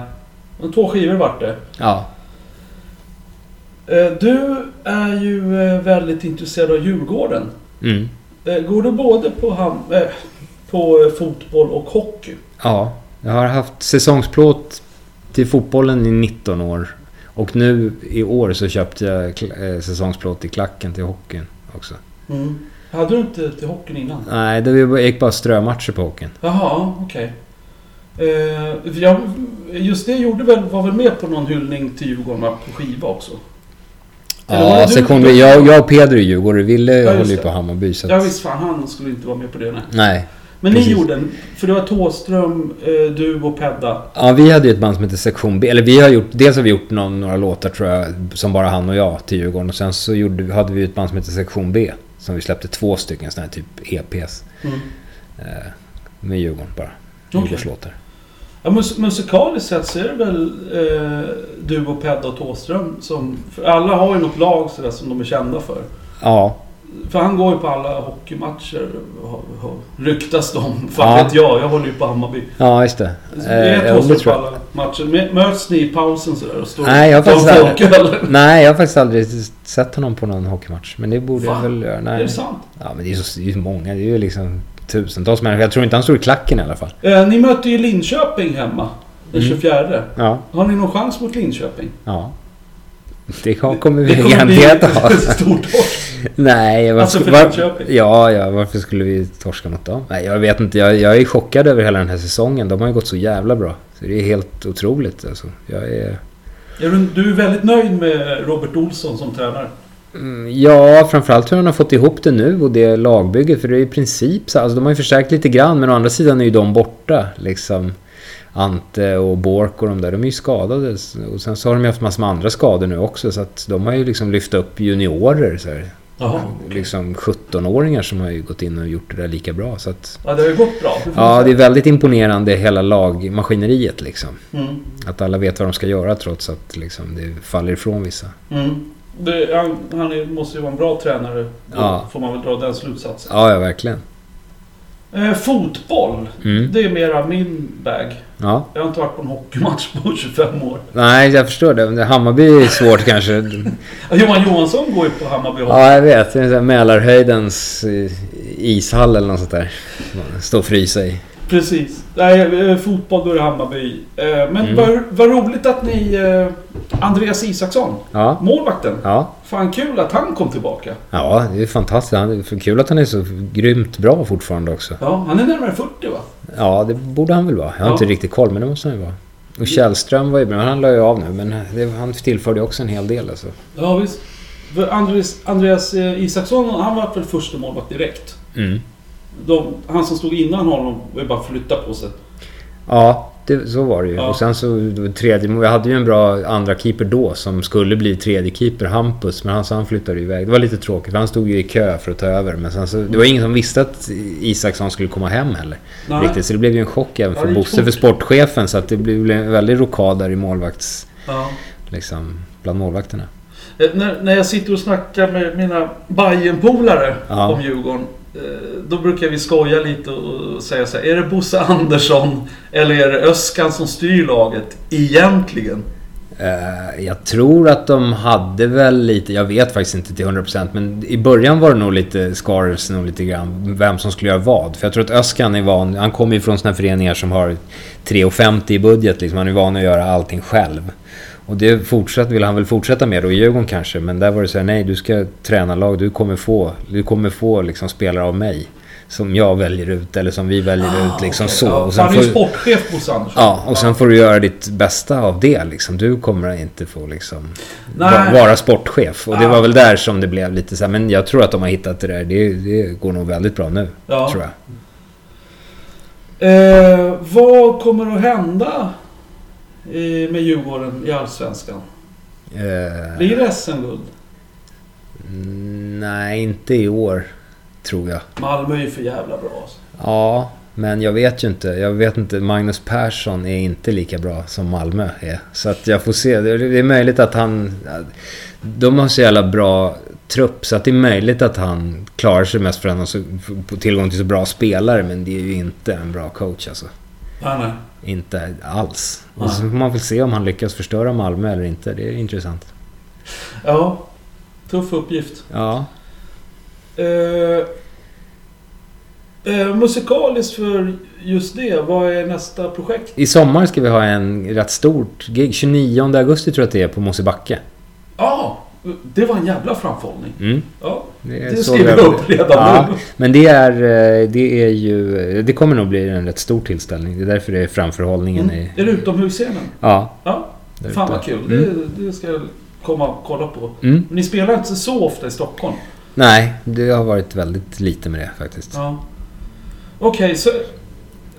Speaker 1: Men två skivor vart det.
Speaker 2: Ja.
Speaker 1: Eh, Du är ju eh, väldigt intresserad av Djurgården.
Speaker 2: Mm.
Speaker 1: Eh, Går du både på, ham- eh, på eh, fotboll och hockey?
Speaker 2: Ja, jag har haft säsongsplåt till fotbollen i 19 år. Och nu i år så köpte jag kla- eh, säsongsplåt till klacken till hockeyn också.
Speaker 1: Mm. Hade du inte till hockeyn innan?
Speaker 2: Nej, det var- gick bara strömatcher på hockeyn.
Speaker 1: Jaha, okej. Eh, för jag- Just det gjorde väl, var väl med på någon hyllning till Djurgården va, på skiva också? Eller var
Speaker 2: Ja,
Speaker 1: det
Speaker 2: sen
Speaker 1: du-
Speaker 2: kom vi, jag, jag och Peder är Djurgården. Ville
Speaker 1: Ja, just
Speaker 2: håller ju
Speaker 1: det.
Speaker 2: på Hammarby. Så
Speaker 1: Ja
Speaker 2: att,
Speaker 1: visst fan, han skulle inte vara med på det nej.
Speaker 2: nej.
Speaker 1: Men ni
Speaker 2: Precis.
Speaker 1: gjorde en, för det var Thåström, eh, du och Pedda.
Speaker 2: Ja, vi hade ju ett band som hette Sektion B. Eller vi har gjort... Dels har vi gjort någon, några låtar tror jag, som bara han och jag till Djurgården. Och sen så gjorde, hade vi ett band som hette Sektion B. Som vi släppte två stycken sådana här typ EPs.
Speaker 1: Mm.
Speaker 2: Eh, med Djurgården bara.
Speaker 1: Okej.
Speaker 2: Djurgårdslåtar.
Speaker 1: Ja, mus- musikaliskt sett så är det väl eh, du och Pedda och Thåström som... För alla har ju något lag sådär som de är kända för.
Speaker 2: Ja,
Speaker 1: För han går ju på alla hockeymatcher, har, har, ryktas de.
Speaker 2: Ja.
Speaker 1: Fan vet jag, jag håller ju på Hammarby.
Speaker 2: ja just det.
Speaker 1: Alltså, Det är
Speaker 2: Eh,
Speaker 1: ett
Speaker 2: ja, det
Speaker 1: Thåström på
Speaker 2: tror jag.
Speaker 1: alla matcher. Mö- Möts ni i pausen sådär och står
Speaker 2: Nej, jag har
Speaker 1: tar en
Speaker 2: faktiskt aldrig-
Speaker 1: folköl?
Speaker 2: Nej, jag har faktiskt aldrig sett honom på någon hockeymatch. Men det borde jag
Speaker 1: Fan,
Speaker 2: väl göra.
Speaker 1: Är
Speaker 2: Nej.
Speaker 1: det sant?
Speaker 2: Ja, men det är ju så, det är ju många. Det är ju liksom tusentals människor. Jag tror inte han står i klacken i alla fall.
Speaker 1: Eh, ni möter ju Linköping hemma den
Speaker 2: Mm.
Speaker 1: 24.
Speaker 2: Ja,
Speaker 1: Har ni någon chans mot Linköping?
Speaker 2: ja. Det kommer vi
Speaker 1: kommer
Speaker 2: garanterat
Speaker 1: bli
Speaker 2: ha.
Speaker 1: ett stort torsk.
Speaker 2: Nej, varför,
Speaker 1: Alltså för
Speaker 2: var-
Speaker 1: Linköping.
Speaker 2: ja, ja, varför skulle vi torska mot dem? Nej, jag vet inte. Jag, jag är chockad över hela den här säsongen. De har ju gått så jävla bra. Så det är helt otroligt. Alltså, jag är...
Speaker 1: Är du- Du är väldigt nöjd med Robert Olsson som tränare?
Speaker 2: Mm, Ja, framförallt hur han har fått ihop det nu och det lagbygget. För det är i princip så. Alltså, de har ju förstärkt lite grann, men å andra sidan är ju de borta. Liksom. Ante och Bork och de där, de är ju skadade. Och sen så har de ju haft massor med andra skador nu också så att de har ju liksom lyft upp juniorer. Så här.
Speaker 1: Jaha.
Speaker 2: Liksom 17-åringar som har ju gått in och gjort det där lika bra. Så att,
Speaker 1: Ja, det har ju gått bra. får man
Speaker 2: ja, det är
Speaker 1: säga.
Speaker 2: väldigt imponerande hela lagmaskineriet liksom.
Speaker 1: Mm.
Speaker 2: Att alla vet vad de ska göra trots att liksom, det faller ifrån vissa.
Speaker 1: Mm. Det, han han är, måste ju vara en bra tränare. Då
Speaker 2: Ja.
Speaker 1: Får man väl dra den slutsatsen.
Speaker 2: Ja, ja verkligen.
Speaker 1: Eh, fotboll.
Speaker 2: Mm.
Speaker 1: Det är mera min bag.
Speaker 2: Ja.
Speaker 1: Jag har inte varit på en hockeymatch på 25 år.
Speaker 2: Nej, jag förstår det. Men Hammarby är svårt kanske.
Speaker 1: Ja, Johan Johansson går ju på Hammarby Hockey.
Speaker 2: Ja, jag vet. Det är en sån här Mälarhöjdens eh, ishall eller något sånt där. Stå och frysa i.
Speaker 1: Precis. Nej, eh, fotboll då är det Hammarby. Eh, men
Speaker 2: Mm.
Speaker 1: vad, vad roligt att ni... Eh, Andreas Isaksson,
Speaker 2: Ja.
Speaker 1: målvakten.
Speaker 2: Ja.
Speaker 1: Fan kul att han kom tillbaka.
Speaker 2: ja, det är fantastiskt. Han- det är för Kul att han är så grymt bra fortfarande också.
Speaker 1: Ja, han är närmare 40 va?
Speaker 2: Ja, det borde han väl vara. Jag har
Speaker 1: Ja.
Speaker 2: inte riktigt koll, men det måste han ju vara. Och Källström var ju bra. Han la ju av nu, men det, han tillförde ju också en hel del alltså.
Speaker 1: Ja, visst. För Andres, Andreas eh, Isaksson, han var väl första målvakt direkt.
Speaker 2: Mm.
Speaker 1: De, han som stod innan honom var ju bara flytta på sig.
Speaker 2: Ja, det, så var det ju.
Speaker 1: Ja.
Speaker 2: Och sen så det var tredje... Vi hade ju en bra andra keeper då som skulle bli tredje keeper, Hampus. Men han, så han flyttade ju iväg. Det var lite tråkigt för han stod ju i kö för att ta över. Men sen så, det var ingen som visste att Isaksson skulle komma hem heller.
Speaker 1: Nej.
Speaker 2: Riktigt. Så det blev ju en chock även
Speaker 1: Ja,
Speaker 2: för
Speaker 1: det gick
Speaker 2: Bosse, för
Speaker 1: fort.
Speaker 2: sportchefen. Så att det blev en väldig rokad där i målvakts...
Speaker 1: Ja.
Speaker 2: Liksom, bland målvakterna.
Speaker 1: Eh, När, när jag sitter och snackar med mina Bajen-polare
Speaker 2: Ja.
Speaker 1: om Djurgården. eh, Då brukar vi skoja lite och säga så här. Är det Bosse Andersson eller är det Öskan som styr laget egentligen?
Speaker 2: Eh, Jag tror att de hade väl lite, jag vet faktiskt inte till 100% men i början var det nog lite skarvs nog lite grann vem som skulle göra vad. För jag tror att Öskan är van, han kommer ju från såna här föreningar som har 3,50 i budget liksom. Han är van att göra allting själv. Och det fortsatt, vill han väl fortsätta med då i Djurgården kanske. Men där var det så här, nej du ska träna lag, du kommer få, du kommer få liksom spelare av mig. Som jag väljer ut eller som vi väljer ut liksom
Speaker 1: Ah, okej.
Speaker 2: så.
Speaker 1: Ja,
Speaker 2: Och
Speaker 1: så
Speaker 2: sen
Speaker 1: han är ju
Speaker 2: får-
Speaker 1: sportchef Bosse Andersson.
Speaker 2: Ja, och sen får du göra ditt bästa av det liksom. Du kommer inte få liksom
Speaker 1: Nej.
Speaker 2: va- vara sportchef. Och det
Speaker 1: Ja.
Speaker 2: var väl där som det blev lite så här, Men jag tror att de har hittat det där. Det, det går nog väldigt bra nu,
Speaker 1: Ja.
Speaker 2: tror jag.
Speaker 1: Eh, vad kommer att hända eh, med Djurgården i Allsvenskan?
Speaker 2: Eh,
Speaker 1: Blir det SM-guld?
Speaker 2: mm, nej, inte i år, tror jag.
Speaker 1: Malmö är ju för jävla bra. Alltså.
Speaker 2: Ja, men jag vet ju inte. Jag vet inte. Magnus Persson är inte lika bra som Malmö är. Så att jag får se. Det är- det är möjligt att han... De har så jävla bra trupp, så att det är möjligt att han klarar sig mest för att han har så- får tillgång till så bra spelare. Men det är ju inte en bra coach alltså.
Speaker 1: Nej, nej.
Speaker 2: Inte alls. Och så får man väl se om han lyckas förstöra Malmö eller inte. Det är intressant.
Speaker 1: Ja, tuff uppgift.
Speaker 2: Ja.
Speaker 1: Eh, eh, musikaliskt för just det, vad är nästa projekt?
Speaker 2: I sommar ska vi ha en rätt stort gig. 29 augusti tror jag att det är på Mosebacke.
Speaker 1: Ja, det var en jävla framförhållning.
Speaker 2: Mm.
Speaker 1: Ja,
Speaker 2: Det,
Speaker 1: det
Speaker 2: såg
Speaker 1: skriver
Speaker 2: jag-
Speaker 1: jag upp redan
Speaker 2: Ja,
Speaker 1: nu.
Speaker 2: men det är, eh, det är ju... Det kommer nog bli en rätt stor tillställning. Det är därför det är framförhållningen
Speaker 1: Mm.
Speaker 2: i...
Speaker 1: Är det utomhusscenen?
Speaker 2: Ja.
Speaker 1: Ja,
Speaker 2: där
Speaker 1: Fan
Speaker 2: ute.
Speaker 1: vad kul.
Speaker 2: Mm.
Speaker 1: Det, det ska jag komma och kolla på.
Speaker 2: Mm.
Speaker 1: Men ni spelar inte så ofta i Stockholm?
Speaker 2: Nej, det har varit väldigt lite med det faktiskt.
Speaker 1: Ja. Okej, så...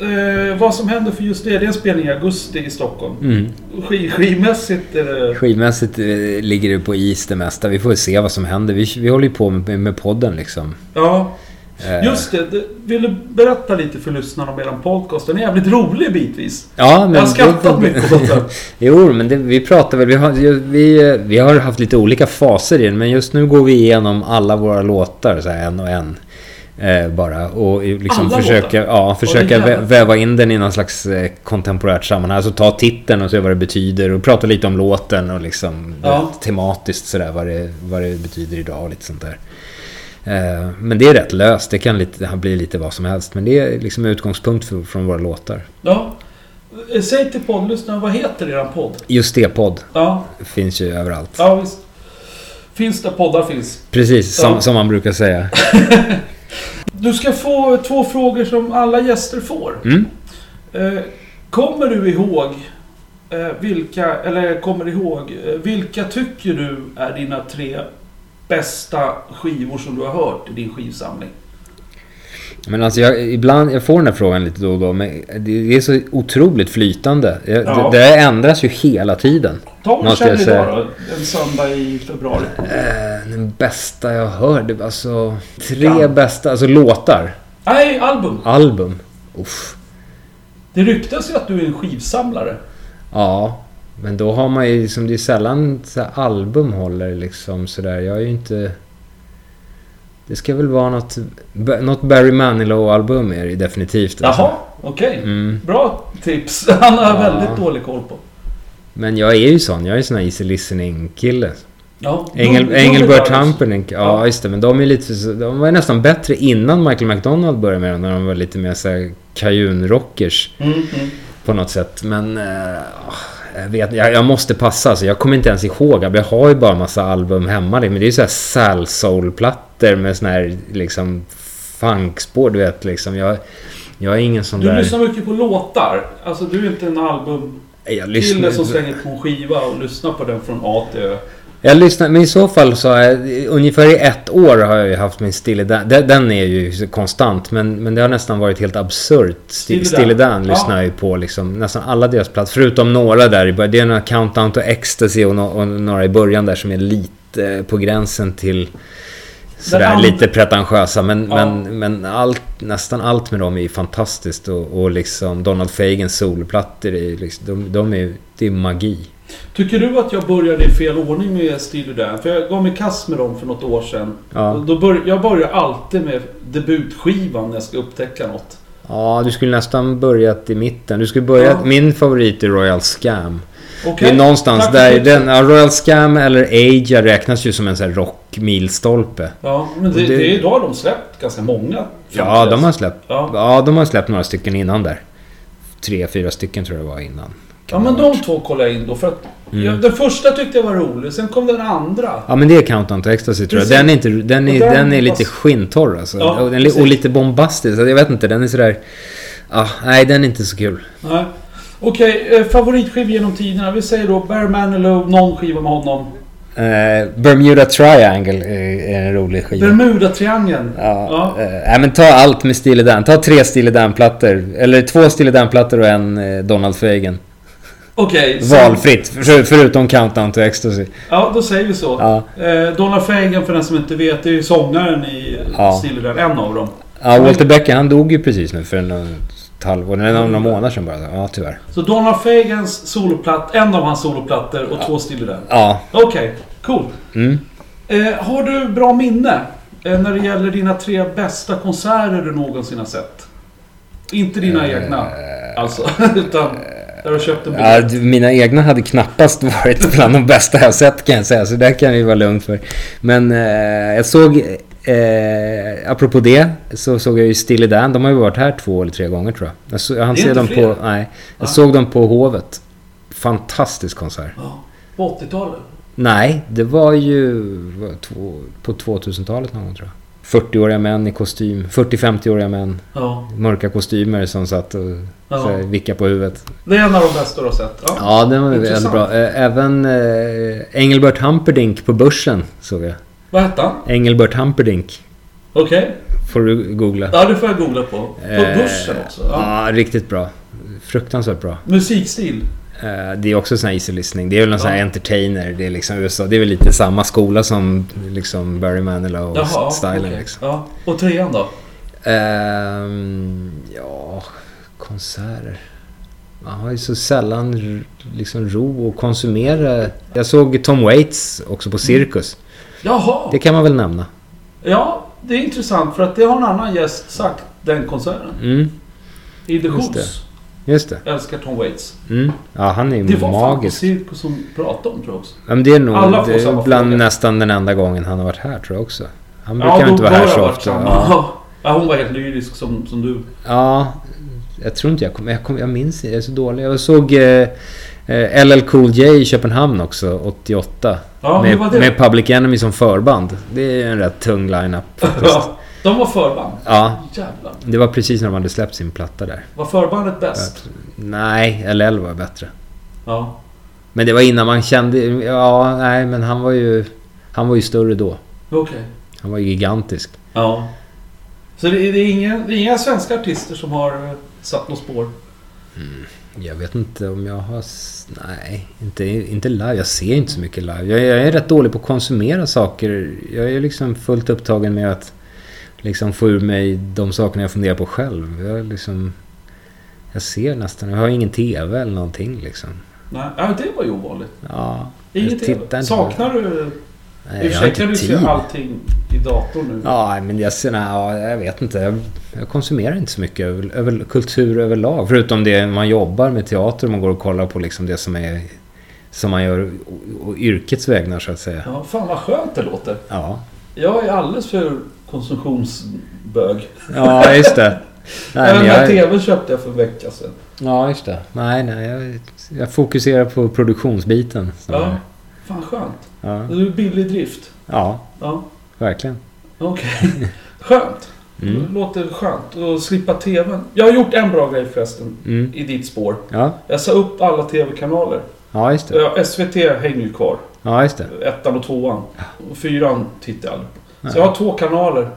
Speaker 1: Eh, vad som händer för just det, det är en spelning i augusti i Stockholm.
Speaker 2: Mm.
Speaker 1: Sk- skivmässigt är det...
Speaker 2: Skivmässigt eh, ligger det på is det mesta. Vi får se vad som händer. Vi, vi håller ju på med, med podden liksom.
Speaker 1: Ja,
Speaker 2: Eh,
Speaker 1: Just det, det- vill du berätta lite för lyssnarna om eran podcast? Den är jävligt rolig bitvis.
Speaker 2: Ja, men
Speaker 1: Jag har skrattat mycket åt den.
Speaker 2: Jo, men det, vi pratar väl... Vi har, ju- vi, eh, vi har haft lite olika faser i den, men just nu går vi igenom alla våra låtar så här, en och en. Eh, bara och i- liksom
Speaker 1: Alla
Speaker 2: försöka, ja, försöka
Speaker 1: Åh, det är
Speaker 2: vä-
Speaker 1: jävligt.
Speaker 2: väva in den i någon slags eh, kontemporärt sammanhang. Alltså ta titeln och se vad det betyder och prata lite om låten och liksom
Speaker 1: Ja.
Speaker 2: vet, tematiskt sådär vad det, vad det betyder idag och lite sånt där. Eh, men det är rätt löst, det kan lite, bli lite vad som helst. Men det är liksom utgångspunkt för, från våra låtar.
Speaker 1: Ja. Eh, Säg till poddlyssnarna, vad heter eran podd?
Speaker 2: Just det, podd.
Speaker 1: Ja,
Speaker 2: Finns ju överallt.
Speaker 1: ja visst. Finns där poddar finns.
Speaker 2: Precis, som,
Speaker 1: Ja.
Speaker 2: som man brukar säga.
Speaker 1: Du ska få två frågor som alla gäster får.
Speaker 2: Mm.
Speaker 1: Eh, kommer du ihåg eh, vilka, eller kommer ihåg, eh, vilka tycker du är dina tre bästa skivor som du har hört i din skivsamling?
Speaker 2: Men alltså jag, ibland, jag får den här frågan lite då och då, men det, det är så otroligt flytande. Jag,
Speaker 1: Ja.
Speaker 2: det, det här ändras ju hela tiden.
Speaker 1: Ta och
Speaker 2: Måste
Speaker 1: känn
Speaker 2: jag
Speaker 1: idag då. En söndag i februari.
Speaker 2: Eh, den bästa jag hör, det, alltså... Tre
Speaker 1: Ja.
Speaker 2: bästa, alltså låtar.
Speaker 1: Nej, album.
Speaker 2: Album. Uff.
Speaker 1: Det ryktas ju att du är en skivsamlare.
Speaker 2: Ja. Men då har man ju liksom, det är sällan så här album håller liksom sådär. Jag är ju inte... Det ska väl vara något, något Barry Manilow-album är det definitivt. alltså.
Speaker 1: Jaha, okej.
Speaker 2: Mm.
Speaker 1: Bra tips. Han har
Speaker 2: Ja.
Speaker 1: väldigt dålig koll på.
Speaker 2: Men jag är ju sån. Jag är ju sån här easy listening-kille.
Speaker 1: Ja,
Speaker 2: Engel,
Speaker 1: Doobie
Speaker 2: Engelbert
Speaker 1: Brothers.
Speaker 2: Humperdinck, ja,
Speaker 1: alltså. Ja.
Speaker 2: just det. Men de är lite, så- de var ju nästan bättre innan Michael McDonald började med dem. När de var lite mer såhär kajunrockers
Speaker 1: Mm, mm.
Speaker 2: på något sätt. Men... Eh, jag, vet, jag, jag måste passa. Så jag kommer inte ens ihåg. Jag har ju bara massa album hemma. liksom. Men det är ju såhär sal soul-plattor med sån här liksom funkspår, du vet. Liksom. Jag, jag är ingen sån
Speaker 1: Du
Speaker 2: där...
Speaker 1: lyssnar mycket på låtar. Alltså du är inte en albumkille
Speaker 2: Nej, jag lyssnar-
Speaker 1: som slänger på en skiva och lyssnar på den från A till Ö.
Speaker 2: Jag lyssnar, men i så fall så har jag, ungefär i ett år har jag ju haft min Stille Dan. Den, den är ju konstant, men, men det har nästan varit helt absurt.
Speaker 1: Stille
Speaker 2: Stille,
Speaker 1: Dan.
Speaker 2: Stille Dan
Speaker 1: Ja.
Speaker 2: lyssnar jag ju på liksom, nästan alla deras plattor, förutom några där i början. Det är några Countdown to Ecstasy och, no, och några i början där som är lite eh, på gränsen till
Speaker 1: Den
Speaker 2: sådär
Speaker 1: andra-
Speaker 2: lite pretentiösa. Men,
Speaker 1: Ja.
Speaker 2: men, men allt, nästan allt med dem är ju fantastiskt och, och liksom Donald Fagans solplattor är ju liksom, de, de är, ju- det är magi.
Speaker 1: Tycker du att jag började i fel ordning med Steely Dan? För jag gav mig i kast med dem för något år sedan.
Speaker 2: Ja.
Speaker 1: Och Då bör, jag börjar alltid med debutskivan när jag ska upptäcka något.
Speaker 2: Ja, du skulle nästan börjat i mitten. Du skulle börjat...
Speaker 1: Ja.
Speaker 2: Min favorit är Royal Scam.
Speaker 1: Okej,
Speaker 2: Det är någonstans
Speaker 1: tack för
Speaker 2: där...
Speaker 1: tipset.
Speaker 2: Den, ja, Royal Scam eller Aja räknas ju som en sån här rockmilstolpe.
Speaker 1: Ja, men det,
Speaker 2: Och
Speaker 1: det...
Speaker 2: det-
Speaker 1: är idag har de släppt ganska många.
Speaker 2: Ja, de har släppt...
Speaker 1: Ja.
Speaker 2: Ja. de har släppt några stycken innan där. Tre, fyra stycken tror jag det var innan.
Speaker 1: Ja, men de två kollade jag in då för att... Ja,
Speaker 2: Mm.
Speaker 1: den första tyckte jag var rolig, sen kom den andra.
Speaker 2: Ja, men det är Countdown to Ecstasy tror jag.
Speaker 1: Precis.
Speaker 2: Den är, inte, den
Speaker 1: Och
Speaker 2: är,
Speaker 1: den-
Speaker 2: den är lite skintorr alltså.
Speaker 1: Ja,
Speaker 2: och, den, är- och
Speaker 1: precis.
Speaker 2: lite bombastisk. Jag vet inte, den är sådär... Ah, nej, den är inte så kul.
Speaker 1: Nej. Okej, eh, favoritskiv genom tiderna. Vi säger då Bear Manilow, någon skiva med honom.
Speaker 2: Eh, Bermuda Triangle är, är en rolig skiva.
Speaker 1: Bermuda-triangeln.
Speaker 2: Ja,
Speaker 1: Ja.
Speaker 2: eh, nej, men ta allt med Steely Dan. Ta tre Steely Dan-plattor. Eller två Steely Dan-plattor och en eh, Donald Fagen.
Speaker 1: Okej. så-
Speaker 2: Valfritt. För, förutom Countdown to Ecstasy.
Speaker 1: Ja, då säger vi så.
Speaker 2: Ja.
Speaker 1: Eh, Donald Fagen, för den som inte vet, det är ju sångaren i
Speaker 2: Ja.
Speaker 1: Steely Dan. En av dem.
Speaker 2: Ja, Walter Becker han dog ju precis nu för en, ett halvår. Nej, några månader sedan bara. Ja, tyvärr.
Speaker 1: Så Donald Fagans soloplatt, en av hans soloplattor och två Steely Dan.
Speaker 2: Ja.
Speaker 1: Okej, cool.
Speaker 2: Mm.
Speaker 1: Eh, har du bra minne eh, när det gäller dina tre bästa konserter du någonsin har sett? Inte dina
Speaker 2: Eh,
Speaker 1: egna, alltså. Utan där du köpt en
Speaker 2: Ja,
Speaker 1: biljett.
Speaker 2: d- mina egna hade knappast varit bland de bästa jag sett kan jag säga, så där kan vi vara lugnt för. Men eh, jag såg, eh, apropå det, så såg jag ju Steely Dan. De har ju varit här två eller tre gånger tror jag. Jag, så, jag hann
Speaker 1: Det är
Speaker 2: se
Speaker 1: inte
Speaker 2: dem
Speaker 1: fler.
Speaker 2: på, nej, jag
Speaker 1: Ah.
Speaker 2: såg dem på Hovet. Fantastisk konsert.
Speaker 1: Ja, På 80-talet.
Speaker 2: Nej, det var ju vad, två, på 2000-talet någon gång tror jag. 40-åriga män i kostym, 40-50-åriga män,
Speaker 1: Ja.
Speaker 2: mörka kostymer som satt och
Speaker 1: Ja.
Speaker 2: så här, vickade på huvudet.
Speaker 1: Det är en av de bästa du har sett. Ja.
Speaker 2: Ja, den var väldigt
Speaker 1: Intressant.
Speaker 2: bra. Eh, Även eh, Engelbert Humperdinck på Börsen såg jag.
Speaker 1: Vad hette han?
Speaker 2: Engelbert Humperdinck.
Speaker 1: Okej.
Speaker 2: Får du googla.
Speaker 1: Ja, det får jag googla på. På
Speaker 2: Eh,
Speaker 1: börsen också. Ja.
Speaker 2: Ja, riktigt bra. Fruktansvärt bra.
Speaker 1: Musikstil.
Speaker 2: Eh, Det är också sån här easy listening. Det är väl en sån här
Speaker 1: Ja.
Speaker 2: entertainer. Det är liksom USA. Det är väl lite samma skola som liksom Barry Manilow och
Speaker 1: Jaha,
Speaker 2: stylen
Speaker 1: okej.
Speaker 2: liksom.
Speaker 1: ja. Och trean då?
Speaker 2: Ehm, ja, konserter. Man har ju så sällan r- liksom ro och konsumera. Jag såg Tom Waits också på Cirkus.
Speaker 1: Jaha!
Speaker 2: Det kan man väl nämna.
Speaker 1: Ja, det är intressant för att det har en annan gäst sagt, den konserten.
Speaker 2: Mm,
Speaker 1: I The
Speaker 2: Just
Speaker 1: Who's.
Speaker 2: just det.
Speaker 1: Älskar Tom Waits.
Speaker 2: Mm. Ja, han är ju
Speaker 1: Det var fan på
Speaker 2: magisk.
Speaker 1: Cirkus som pratade om tror jag också.
Speaker 2: Ja, men det är nog
Speaker 1: Alla får
Speaker 2: det är
Speaker 1: samma
Speaker 2: bland
Speaker 1: fråga.
Speaker 2: nästan den enda gången han har varit här tror jag också. Han brukar väl
Speaker 1: då
Speaker 2: inte vara
Speaker 1: bör
Speaker 2: här
Speaker 1: det
Speaker 2: så
Speaker 1: ha varit
Speaker 2: ofta.
Speaker 1: samma.
Speaker 2: Ja.
Speaker 1: Ja. hon var helt lyrisk som, som du.
Speaker 2: ja, jag tror inte jag kommer... Jag, kommer, jag minns inte, jag är så dålig. Jag såg eh, eh, LL Cool J i Köpenhamn också, 88.
Speaker 1: Ja, hur var
Speaker 2: med,
Speaker 1: det?
Speaker 2: med Public Enemy som förband. Det är en rätt tung line-up faktiskt.
Speaker 1: Ja, de var förband.
Speaker 2: ja,
Speaker 1: Jävlar.
Speaker 2: det var precis när de hade släppt sin platta där.
Speaker 1: Var förbandet bäst?
Speaker 2: Nej, LL var bättre.
Speaker 1: Ja.
Speaker 2: Men det var innan man kände... Ja, nej, men han var ju... Han var ju större då.
Speaker 1: Okej.
Speaker 2: Han var ju gigantisk.
Speaker 1: Ja. Så det, det, är inga, det är inga svenska artister som har eh, satt något spår.
Speaker 2: Jag vet inte om jag har... s- Nej, inte, inte live. Jag ser inte så mycket live. Jag, jag är rätt dålig på att konsumera saker. Jag är liksom fullt upptagen med att liksom få ur mig de sakerna jag funderar på själv. Jag, är liksom, jag ser nästan... Jag har ingen TV eller någonting liksom.
Speaker 1: Nej, ja, men det var ju ovanligt.
Speaker 2: Ja,
Speaker 1: Inget
Speaker 2: jag tittar
Speaker 1: TV.
Speaker 2: inte.
Speaker 1: Saknar du...
Speaker 2: Nej,
Speaker 1: I och
Speaker 2: jag
Speaker 1: för
Speaker 2: har
Speaker 1: sig kan
Speaker 2: inte
Speaker 1: du ju se
Speaker 2: tid.
Speaker 1: allting i datorn nu.
Speaker 2: Ja, men jag, ser- nej, ja, jag vet inte. Jag, jag konsumerar inte så mycket över, över, kultur överlag. Förutom det man jobbar med teater och man går och kollar på liksom det som, är, som man gör och, och yrkets vägnar så att säga.
Speaker 1: Ja, fan vad skönt det låter.
Speaker 2: Ja,
Speaker 1: Jag är alldeles för konsumtionsbög.
Speaker 2: ja just det. Nej,
Speaker 1: Även
Speaker 2: men
Speaker 1: den här
Speaker 2: jag,
Speaker 1: TVn köpte jag för en vecka sedan.
Speaker 2: ja, just det. Nej, nej. Jag, jag fokuserar på produktionsbiten.
Speaker 1: Ja.
Speaker 2: snarare.
Speaker 1: Fan skönt.
Speaker 2: Ja,
Speaker 1: Det är billig drift.
Speaker 2: ja
Speaker 1: Ja,
Speaker 2: verkligen.
Speaker 1: okej. Skönt.
Speaker 2: Mm.
Speaker 1: Det låter skönt att slippa TVn. Jag har gjort en bra grej förresten.
Speaker 2: Mm.
Speaker 1: I ditt spår.
Speaker 2: Ja,
Speaker 1: Jag sa upp alla TV-kanaler.
Speaker 2: ja, just det.
Speaker 1: Ja, SVT hänger ju kvar.
Speaker 2: Ja, just det.
Speaker 1: Ettan och tvåan. Och fyran tittar jag aldrig på. Så jag har två kanaler.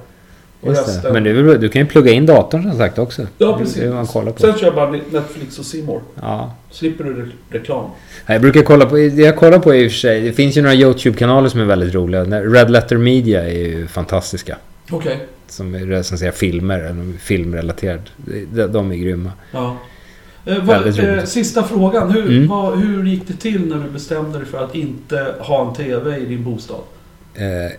Speaker 1: Och
Speaker 2: Just det.
Speaker 1: resten.
Speaker 2: Men det är väl bra. du kan ju plugga in datorn som sagt också.
Speaker 1: Ja,
Speaker 2: Det är
Speaker 1: precis.
Speaker 2: vad man kollar på.
Speaker 1: Sen kör jag bara Netflix och C More.
Speaker 2: Ja.
Speaker 1: Slipper du re- reklam.
Speaker 2: Nej, Jag brukar kolla på, det jag kollar på är i och för sig, det finns ju några YouTube-kanaler som är väldigt roliga. När- Red Letter Media är ju fantastiska.
Speaker 1: Okej.
Speaker 2: Som recenserar filmer, eller filmrelaterad. De, de är grymma.
Speaker 1: Ja. Eh,
Speaker 2: Väldigt
Speaker 1: vad, eh,
Speaker 2: roligt.
Speaker 1: sista frågan. Hur,
Speaker 2: Mm.
Speaker 1: vad, hur gick det till när du bestämde dig för att inte ha en TV i din bostad?
Speaker 2: Eh,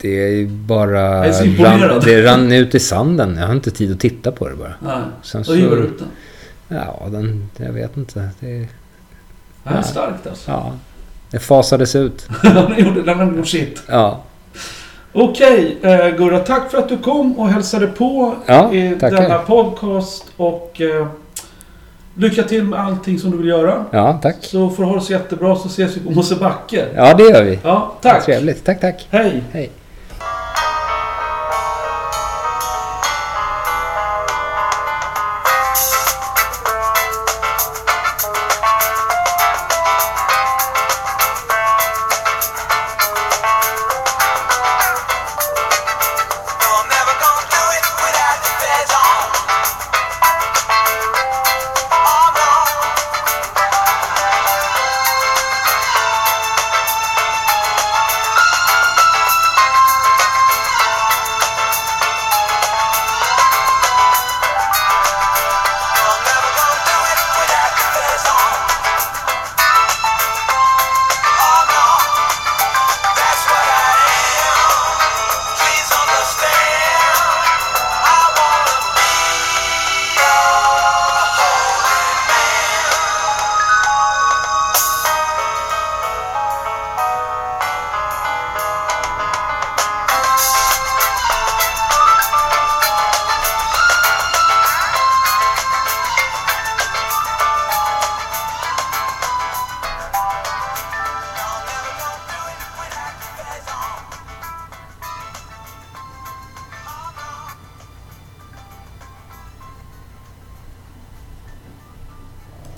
Speaker 2: det är ju bara...
Speaker 1: Jag är så imponerad.
Speaker 2: det rann ut i sanden. Jag har inte tid att titta på det bara.
Speaker 1: Nej.
Speaker 2: Sen
Speaker 1: Då river du ut den.
Speaker 2: Ja, den... Jag vet inte. Det,
Speaker 1: Det här är
Speaker 2: Ja.
Speaker 1: starkt alltså.
Speaker 2: ja. Det fasades ut.
Speaker 1: Han gjorde den här shit.
Speaker 2: Ja.
Speaker 1: Okej eh, Gurra, tack för att du kom och hälsade på
Speaker 2: Ja,
Speaker 1: i
Speaker 2: tackar.
Speaker 1: denna podcast. Och eh, lycka till med allting som du vill göra.
Speaker 2: Ja, tack.
Speaker 1: Så får du ha det så jättebra så ses vi på Mosebacke.
Speaker 2: Ja, det gör vi.
Speaker 1: Ja, tack.
Speaker 2: Trevligt. Tack, tack.
Speaker 1: Hej.
Speaker 2: Hej.